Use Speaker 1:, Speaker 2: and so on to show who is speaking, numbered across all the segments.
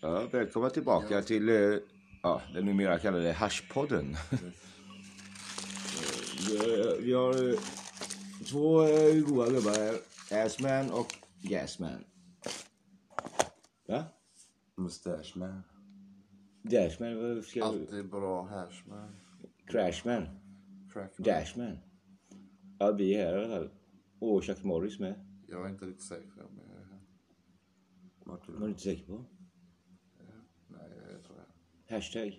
Speaker 1: Ja, välkomna tillbaka till eh, ja, den numera kallade Hashpodden. Eh, Vi har eh, två eh, goa gubbar här. Assman och Gasman. Va?
Speaker 2: Mustaschman.
Speaker 1: Dashman? Vad ska du?
Speaker 2: Alltid bra hashman.
Speaker 1: Crashman?
Speaker 2: Crackman.
Speaker 1: Dashman? Ja, vi är här i alla fall. Och Chuck Morris med.
Speaker 2: Jag är inte riktigt säker om jag är här. Vart är
Speaker 1: Var du inte säker på?
Speaker 2: Nej, jag tror jag.
Speaker 1: Hashtag.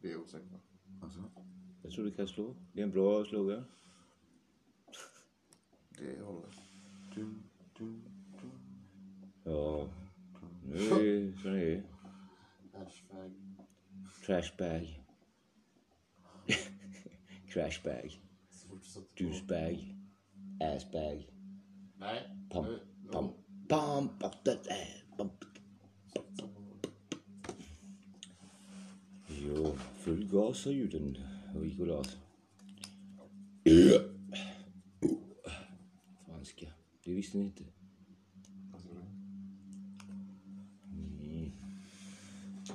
Speaker 2: Det är jag osäker på. Alltså?
Speaker 1: Jag tror du kan slå. Det är en bra slogan.
Speaker 2: Det håller. Du, du, du.
Speaker 1: Ja, nu är det som det är.
Speaker 2: Hashtag.
Speaker 1: Trashbag. Crashbag.
Speaker 2: Svårt att sätta på.
Speaker 1: Douchebag. Assbag.
Speaker 2: Nej.
Speaker 1: Pam,
Speaker 2: nu- nu-
Speaker 1: pam, pam, pam, da, da, pam. Jo, full gas har ljuden och gick och las. Franska. Det visste ni inte.
Speaker 2: Vad sa du?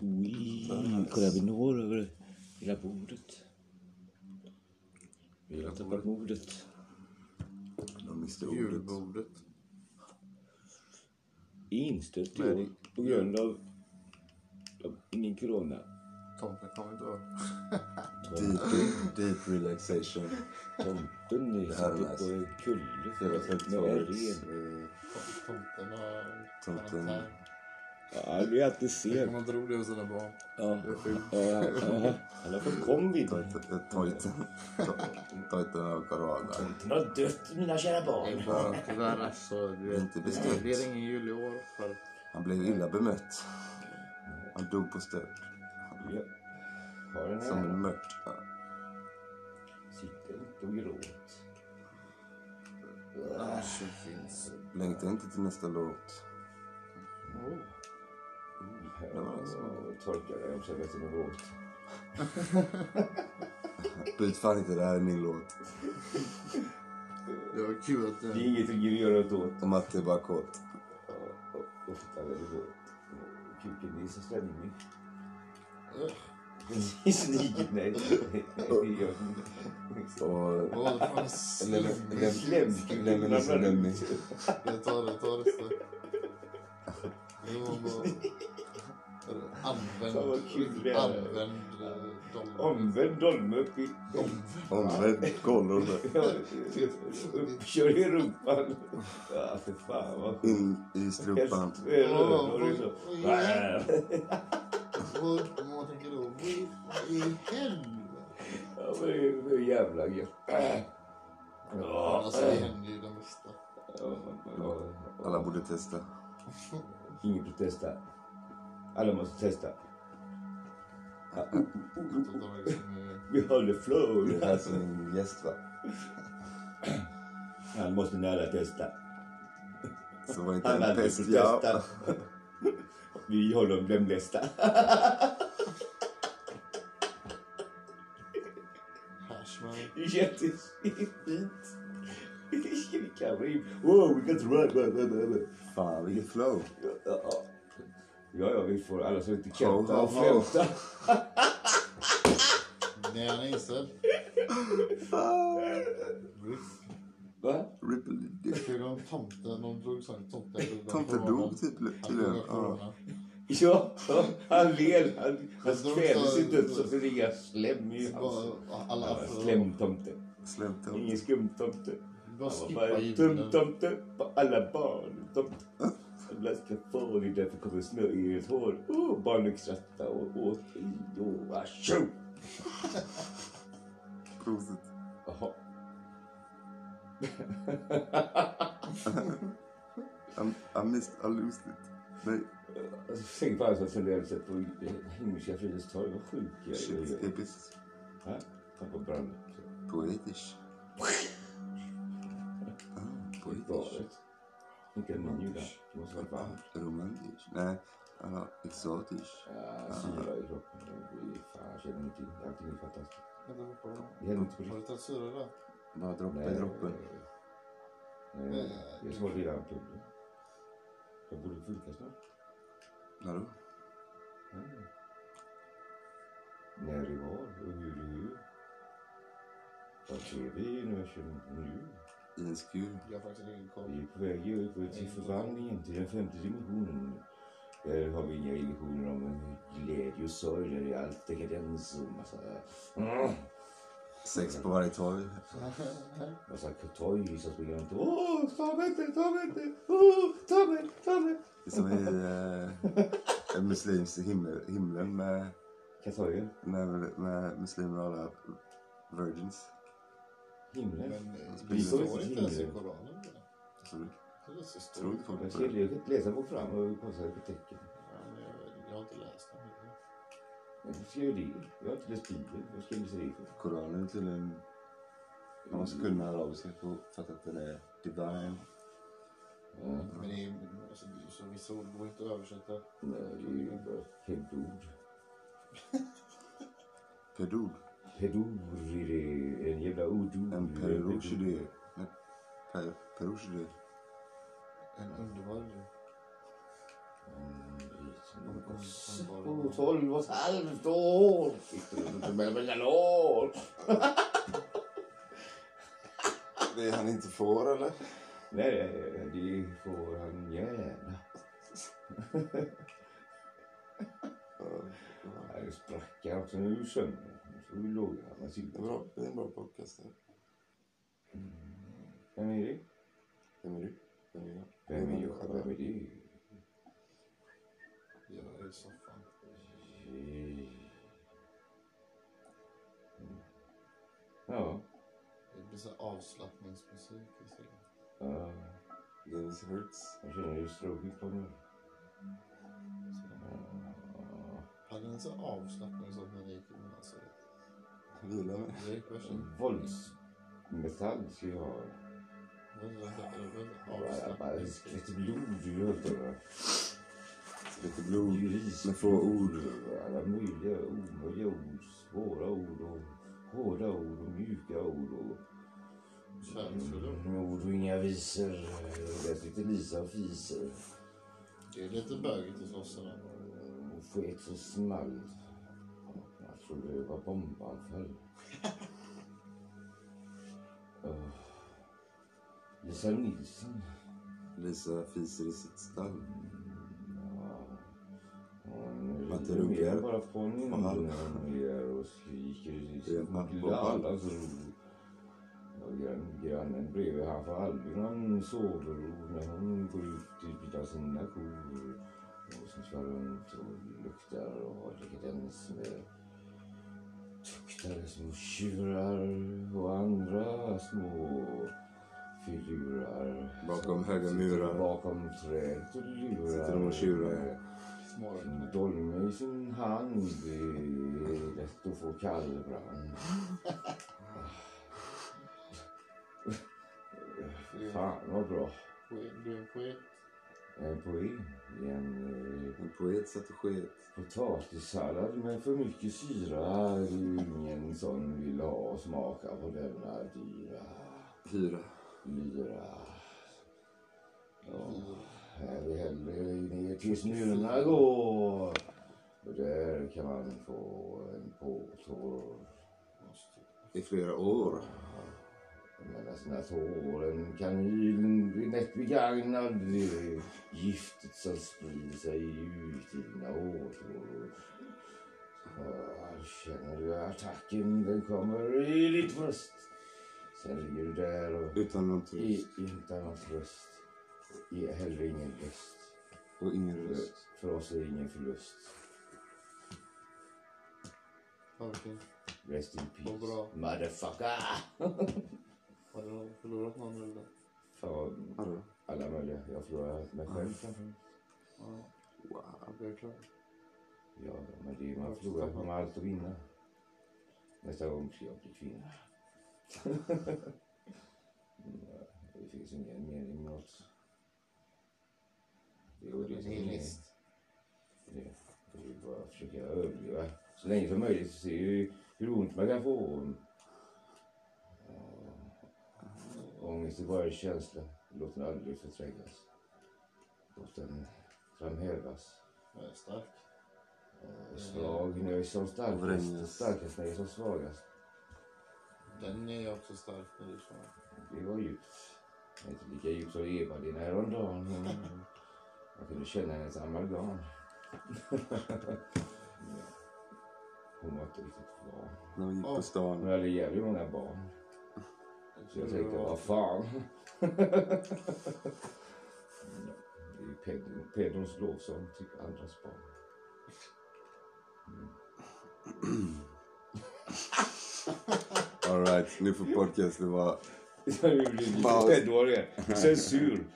Speaker 1: Oui, Mm, kolla vi når över hela bordet. Vi har tappat modet.
Speaker 3: De miste ordet.
Speaker 2: Julbordet.
Speaker 1: Inställt i
Speaker 2: Nej,
Speaker 1: år på grund av, av ingen corona.
Speaker 2: Tomten kommer inte vara.
Speaker 3: Deep, deep relaxation.
Speaker 1: Tomten
Speaker 3: Det här är
Speaker 1: sitter
Speaker 3: nice.
Speaker 1: på en kulle med en
Speaker 3: 450-talets...
Speaker 1: ren.
Speaker 3: eh,
Speaker 2: Tom- Tomten har...
Speaker 3: Tomten.
Speaker 1: Ja, det är alltid
Speaker 2: Jag
Speaker 1: sent.
Speaker 2: kommer tro det hos sina barn.
Speaker 1: Ja, ja, ja. Han har fått covid.
Speaker 3: tojt- eh, Tojten. To- Tojten av corona.
Speaker 1: Han har dött mina kära barn.
Speaker 2: Ja, Tyvärr alltså. Du vet,
Speaker 3: Inte
Speaker 2: det
Speaker 3: beställt.
Speaker 2: blir ingen jul i år. För att
Speaker 3: Han blev illa bemött. Han dog på stöd.
Speaker 1: Ja. Har den
Speaker 3: Som
Speaker 1: här.
Speaker 3: en mört. Ja.
Speaker 1: Sitter inte och gråt.
Speaker 2: Asch, det Ah, finns.
Speaker 3: Längtar inte till nästa låt. Det var alltså.
Speaker 1: Torkar dig också, jag vet inte vad gråt.
Speaker 3: Byt fan inte, det här är min låt.
Speaker 2: Det var kul att...
Speaker 1: Det är inget vi gör åt åt.
Speaker 3: Och Matte är bara kåt.
Speaker 1: Ofta är det då. Kuken är så slemmig.
Speaker 2: Ugh.
Speaker 1: Sniket, nej. Nej, det gör den inte.
Speaker 3: Och...
Speaker 2: Åh, det var
Speaker 3: Lem-
Speaker 2: slemmigt.
Speaker 3: lem-
Speaker 1: Slemkuken
Speaker 3: Lemmy is a
Speaker 1: ramlar
Speaker 3: lemmy.
Speaker 1: ut.
Speaker 2: Jag tar det, tar det strax. Det var bara... Använd,
Speaker 1: Fan, vad kul det är.
Speaker 2: använd eh, dollar.
Speaker 1: Omvänd dolme upp i...
Speaker 3: Omvänd kollon.
Speaker 1: Uppkör i rumpan. Ja, för fan vad...
Speaker 3: In i strupan.
Speaker 1: Helst- eh, rör- rör- så.
Speaker 2: Och om man tänker då,
Speaker 1: Ja, men
Speaker 2: vad i- vad i helvete?
Speaker 1: det är ju jävla gött. Ja,
Speaker 2: Alltså det händer ju det mesta.
Speaker 3: Alla borde testa.
Speaker 1: Ingen får testa. Alla måste testa.
Speaker 2: Jag tror att det var liksom, eh,
Speaker 1: Vi håller flow.
Speaker 3: Det här som en gäst va?
Speaker 1: Han måste nära testa.
Speaker 3: Så var inte
Speaker 1: Han
Speaker 3: en
Speaker 1: aldrig
Speaker 3: pest.
Speaker 1: får
Speaker 3: Ja.
Speaker 1: testa. Vi håller dem bästa.
Speaker 2: Hashman.
Speaker 1: Jättefint. Vilka rim. Wow, we got run, run, run, run.
Speaker 3: Fan vilket flow.
Speaker 1: Ja, ja. Ja, ja, vi får alla som inte
Speaker 3: Ho,
Speaker 1: kan
Speaker 3: ho,
Speaker 1: och
Speaker 3: ho.
Speaker 1: skämta.
Speaker 2: Nej, han är inställd.
Speaker 1: Va?
Speaker 3: Ripple dick.
Speaker 2: Hur om tomten, de drog sån tomten.
Speaker 3: Tomten dog typ
Speaker 2: Han dog av
Speaker 3: tydligen. Ja.
Speaker 2: corona.
Speaker 1: Ja, ja, han ler. Han, han
Speaker 2: De
Speaker 1: kväver
Speaker 2: sa-
Speaker 1: sin döds och så ligger han slem i halsen.
Speaker 2: Bara, alla
Speaker 1: Alltså, Ja,
Speaker 2: afro-
Speaker 1: Slemtomte.
Speaker 3: Släppte
Speaker 1: Ingen skumtomte. Han
Speaker 2: Bara
Speaker 1: var
Speaker 2: skippa
Speaker 1: bara en
Speaker 2: julen.
Speaker 1: tumtomte på alla barn. Tomte. Jävla skaffari, därför kommer snö i ert hår. Oh, barnen skrattar och åt i och ah, tjo!
Speaker 3: prosit.
Speaker 1: Jaha.
Speaker 3: I'm- I missed, I lost it. Nej,
Speaker 1: Alltså, Tänk på alla som funderade sig på eh, Himmelska fridens torg. Vad sjuk jag
Speaker 3: shit,
Speaker 1: är.
Speaker 3: episkt.
Speaker 1: Ja, Tappar branden.
Speaker 3: Poetisch. Ah, poetisch.
Speaker 1: Badet. Inte en ny där. Det måste vara varmt.
Speaker 3: Romantisch. Nej, ja, exotisch.
Speaker 1: Ja, syra i kroppen. Fy fan, jag känner ingenting. Allting är fantastiskt.
Speaker 2: Vänta, vad var det?
Speaker 1: Det händer inte på
Speaker 2: Har du
Speaker 1: riktigt.
Speaker 2: tagit syra idag?
Speaker 3: Bara droppe i droppen.
Speaker 1: Nej, jag såg redan pudden. Jag borde funka snart.
Speaker 3: Vadå?
Speaker 1: på tv nu. nu.
Speaker 3: I en skur.
Speaker 2: Jag har faktiskt ingen koll.
Speaker 3: Mm.
Speaker 1: Vi är på väg över till förvandlingen, till den femte dimensionen. Där har vi inga illusioner om glädje och sorg, där är allt dekadens och massa... Mm.
Speaker 3: Sex på varje torg.
Speaker 1: Massa torg som springer runt. Åh, ta mig inte, ta mig inte! Åh, ta mig, ta mig!
Speaker 3: Det är Som i eh, en muslims himmel, himlen med,
Speaker 1: Katorgen,
Speaker 3: med, med muslimer och alla virgins. Mm.
Speaker 1: himlen.
Speaker 2: Men eh,
Speaker 1: Vi
Speaker 2: det
Speaker 1: får
Speaker 2: står
Speaker 1: inte
Speaker 2: inte ens i
Speaker 1: hindra.
Speaker 2: Koranen.
Speaker 3: Alltså,
Speaker 2: Det är så stort.
Speaker 3: tror inte folk
Speaker 1: Jag
Speaker 3: på
Speaker 1: skulle
Speaker 3: det.
Speaker 1: ju läsa bok fram och kolla på tecken.
Speaker 2: Ja, men jag, jag har inte läst den.
Speaker 3: Mm.
Speaker 1: Varför ska jag det? Jag har inte läst Bibeln. Vad ska jag läsa det för?
Speaker 3: Koranen är tydligen... Man måste kunna arabiska för att fatta att den är divine.
Speaker 1: Ja,
Speaker 2: Men det är, alltså, det är så vissa ord går inte att översätta.
Speaker 1: nej, det är ju bara pedord.
Speaker 3: Pedod.
Speaker 1: Pedor är det. En jävla odor.
Speaker 3: En perush är Mm, det. Nej, per- Perush är det.
Speaker 2: En underbar du.
Speaker 1: Och tolv och ett halvt år! Sitter du inte med mellanår?
Speaker 3: Det är han inte får eller?
Speaker 1: Nej, det får han gärna. Här sprack jag också nu sönder. Så vi låg jag med
Speaker 3: Det
Speaker 1: silver.
Speaker 3: är, bra. det är en bra podcast. det.
Speaker 1: Vem är det?
Speaker 3: Vem är du? Vem är jag?
Speaker 1: Vem är jag? Vem är det?
Speaker 2: Jag är i soffan.
Speaker 1: Mm. Ja.
Speaker 2: Det blir så här avslappningsmusik istället.
Speaker 1: ja.
Speaker 3: Dennis Hertz.
Speaker 1: Jag känner hur stråket kommer.
Speaker 2: Så-
Speaker 3: Mm.
Speaker 2: Hade ni en sån avslappning som när ni gick i gymnasiet?
Speaker 3: Vila med.
Speaker 2: Det gick versen.
Speaker 1: Mm. Våldsmetall ska jag ha.
Speaker 2: Det var en
Speaker 1: Bara- Bara det
Speaker 2: avslappning.
Speaker 1: skvätter blod ur höfterna.
Speaker 3: Lite blod.
Speaker 1: Juris.
Speaker 3: Med få ord.
Speaker 1: Alla möjliga omöjliga ord. Svåra ord och hårda ord och mjuka ord. Och...
Speaker 2: Kärleksfulla ord.
Speaker 1: Mm, Ord och inga visor. Jag sitter Eh, Lisa och fiser.
Speaker 2: Det är lite bögigt hos sossarna.
Speaker 1: Hon sket så small. Jag trodde det var bombanfall. Öh. Lisa Nilsson.
Speaker 3: Lisa fiser i sitt stall.
Speaker 1: Ja. Hon
Speaker 3: Matte
Speaker 1: river
Speaker 3: runkar.
Speaker 1: bara på
Speaker 3: Fan.
Speaker 1: nynnorna ner och skriker.
Speaker 3: Det är ett natt på
Speaker 1: alla så och alltså. grann- grannen bredvid han för Albin han sover och när hon går ut bland sina kor och som kör runt och luktar och har dekadens med tuktade små tjurar och andra små figurer.
Speaker 3: Bakom
Speaker 1: som
Speaker 3: höga
Speaker 1: sitter
Speaker 3: murar.
Speaker 1: Bakom träd och lurar.
Speaker 3: Sitter de och tjurar?
Speaker 1: Sin
Speaker 2: Smårökna.
Speaker 1: dolme i sin hand är lätt att få kallbrand. Fan vad bra.
Speaker 2: Du är en poet.
Speaker 1: En poäng i en eh,
Speaker 3: En poet satt och sket.
Speaker 1: potatissallad med för mycket syra. Det är ju Ingen som vill ha och smaka på denna dyra
Speaker 3: Fyra.
Speaker 1: lyra. Ja, här vi hellre ner till Smyrna går. Och där kan man få en påtår.
Speaker 2: Måste.
Speaker 3: I flera år.
Speaker 1: Mellan sina tår, en kanyl blir nätt begagnad. Det är Giftet som sprider sig ut i dina hårtråd. Ja, Känner du attacken? Den kommer i ditt bröst. Sen ligger du där och
Speaker 3: Utan någon tröst.
Speaker 1: i, utan någon tröst. I, hellre ingen röst.
Speaker 3: Och ingen
Speaker 1: För,
Speaker 3: röst.
Speaker 1: för oss är det ingen förlust.
Speaker 2: Okej.
Speaker 1: Rest in
Speaker 2: Vad bra.
Speaker 1: peace. Motherfucker!
Speaker 2: Har du förlorat någon eller?
Speaker 1: Fan,
Speaker 3: Vadå?
Speaker 1: alla möjliga. Jag har förlorat mig själv framför allt.
Speaker 2: Ja,
Speaker 3: Wow.
Speaker 2: det är klart.
Speaker 1: Ja, men det är man förlorar man har allt att vinna. Nästa gång ska jag bli kvinna. Nej, det finns ingen mening med något. Det är det som är... Det det är ju bara att försöka överleva så länge som möjligt. Se hur, hur ont man kan få. Ja, Ångest är bara en känsla. Låt den aldrig förträngas. Låt den framhävas.
Speaker 2: Jag är stark.
Speaker 1: Svag när jag är som starkast,
Speaker 3: Vränges.
Speaker 1: starkast när jag är som svagast.
Speaker 2: Den är ju också stark när du kör.
Speaker 1: Det var djupt. Det är Inte lika djupt som Eva din häromdagen. Hon- Jag kunde känna hennes amalgam. Hon var inte riktigt bra.
Speaker 3: När vi gick
Speaker 2: Ja.
Speaker 3: på stan.
Speaker 1: Hon hade jävligt många barn. Så jag tänkte, vad fan. Det är ju pedon- Pedons lovsång till andras barn.
Speaker 3: Alright, nu får podcasten vara...
Speaker 1: Jag gjorde lite
Speaker 3: Paus.
Speaker 1: pedoare. Censur.